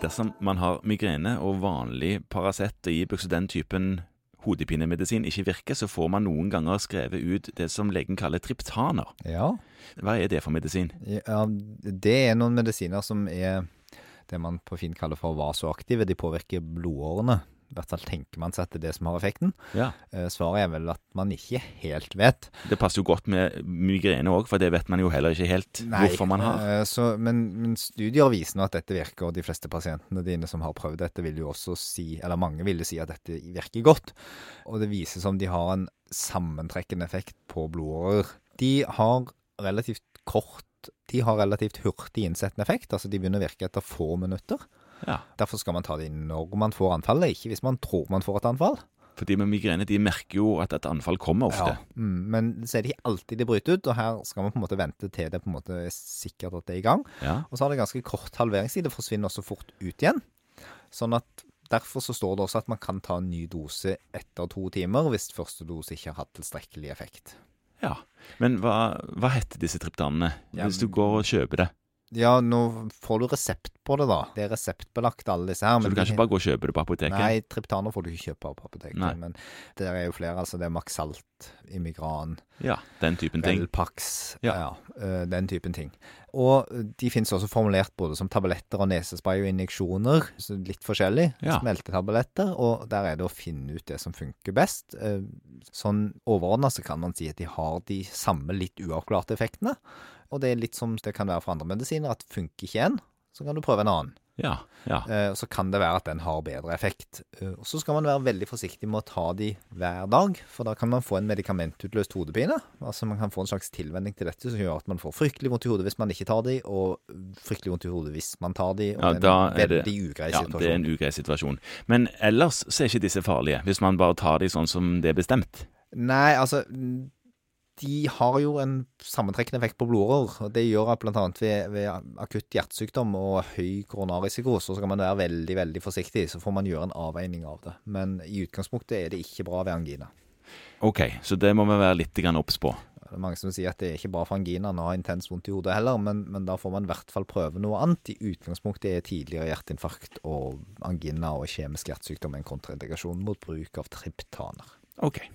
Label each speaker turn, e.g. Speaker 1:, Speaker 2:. Speaker 1: Dersom man har migrene og vanlig Paracet, Ibux og den typen hodepinemedisin ikke virker, så får man noen ganger skrevet ut det som legen kaller triptaner.
Speaker 2: Ja.
Speaker 1: Hva er det for medisin?
Speaker 2: ja, det er noen medisiner som er det man på fint kaller for vasoaktive. De påvirker blodårene. I hvert fall tenker man seg at det er det som har effekten.
Speaker 1: Ja.
Speaker 2: Eh, Svaret er vel at man ikke helt vet.
Speaker 1: Det passer jo godt med migrene òg, for det vet man jo heller ikke helt hvorfor man har.
Speaker 2: eh, Så, men, men studier viser nå at dette virker, og de fleste pasientene dine som har prøvd dette, vil jo også si, eller mange vil jo si at dette virker godt. Og det vises om de har en sammentrekkende effekt på blodårer. De har relativt kort de har relativt hurtig innsettende effekt, altså de begynner å virke etter få minutter.
Speaker 1: Ja.
Speaker 2: Derfor skal man ta det når man får anfallet, ikke hvis man tror man får et anfall.
Speaker 1: For de med migrene de merker jo at et anfall kommer ofte.
Speaker 2: Mm, men så er det ikke alltid det bryter ut, og her skal man på en måte vente til det på en måte er sikkert at det er i gang.
Speaker 1: Ja.
Speaker 2: Og så har det ganske kort halveringstid, det forsvinner også fort ut igjen. Sånn at derfor så står det også at man kan ta en ny dose etter to timer hvis første dose ikke har hatt tilstrekkelig effekt.
Speaker 1: ja. Men hva, hva heter disse triptanene?
Speaker 2: Ja,
Speaker 1: Hvis du går og kjøper det.
Speaker 2: Ja, nå får du resept på det, da. Det er reseptbelagt, alle disse her.
Speaker 1: Så du kan ikke bare gå og kjøpe det på apoteket?
Speaker 2: Nei, triptaner får du ikke kjøpe på apoteket.
Speaker 1: Nei.
Speaker 2: Men det er jo flere, altså. Det er Maxalt, Immigran,
Speaker 1: Ja, den typen ting.
Speaker 2: Velpax,
Speaker 1: Ja.
Speaker 2: ja. eh, den typen ting. Og eh, de finnes også formulert både som tabletter og nesespray og injeksjoner, så litt forskjellig.
Speaker 1: Ja.
Speaker 2: Smeltetabletter, og der er det å finne ut det som funker best. Eh, Sånn overordna så kan man si at de har de samme litt uavklarte effektene. Og det er litt som det kan være for andre medisiner, at funker ikke en, så kan du prøve en annen.
Speaker 1: Ja, ja.
Speaker 2: Eh, Så kan det være at den har bedre effekt. Eh, Og så skal man være veldig forsiktig med å ta de hver dag, for da kan man få en medikamentutløst hodepine. Altså man kan få en slags tilvenning til dette som gjør at man får fryktelig vondt i hodet hvis man ikke tar de, og fryktelig vondt i hodet hvis man tar de. Og
Speaker 1: Ja,
Speaker 2: det
Speaker 1: da er
Speaker 2: er en
Speaker 1: det-
Speaker 2: veldig ugrei
Speaker 1: Ja, det er
Speaker 2: situasjon.
Speaker 1: en ugrei situasjon. Men ellers så er ikke disse farlige, hvis man bare tar de sånn som det er bestemt.
Speaker 2: Nei, altså mm, de har jo en sammentrekkende effekt på blodårer. og Det gjør at bl.a. Ved, ved akutt hjertesykdom og høy koronarrisiko, så skal man være veldig veldig forsiktig. Så får man gjøre en avveining av det. Men i utgangspunktet er det ikke bra ved angina.
Speaker 1: Ok, så det må vi være litt grann obs på.
Speaker 2: Det er mange som sier at det er ikke bra for anginaen å ha intens vondt i hodet heller, men, men da får man i hvert fall prøve noe annet. I utgangspunktet er tidligere hjerteinfarkt og angina og kjemisk hjertesykdom en kontraindikasjon mot bruk av triptaner.
Speaker 1: Ok,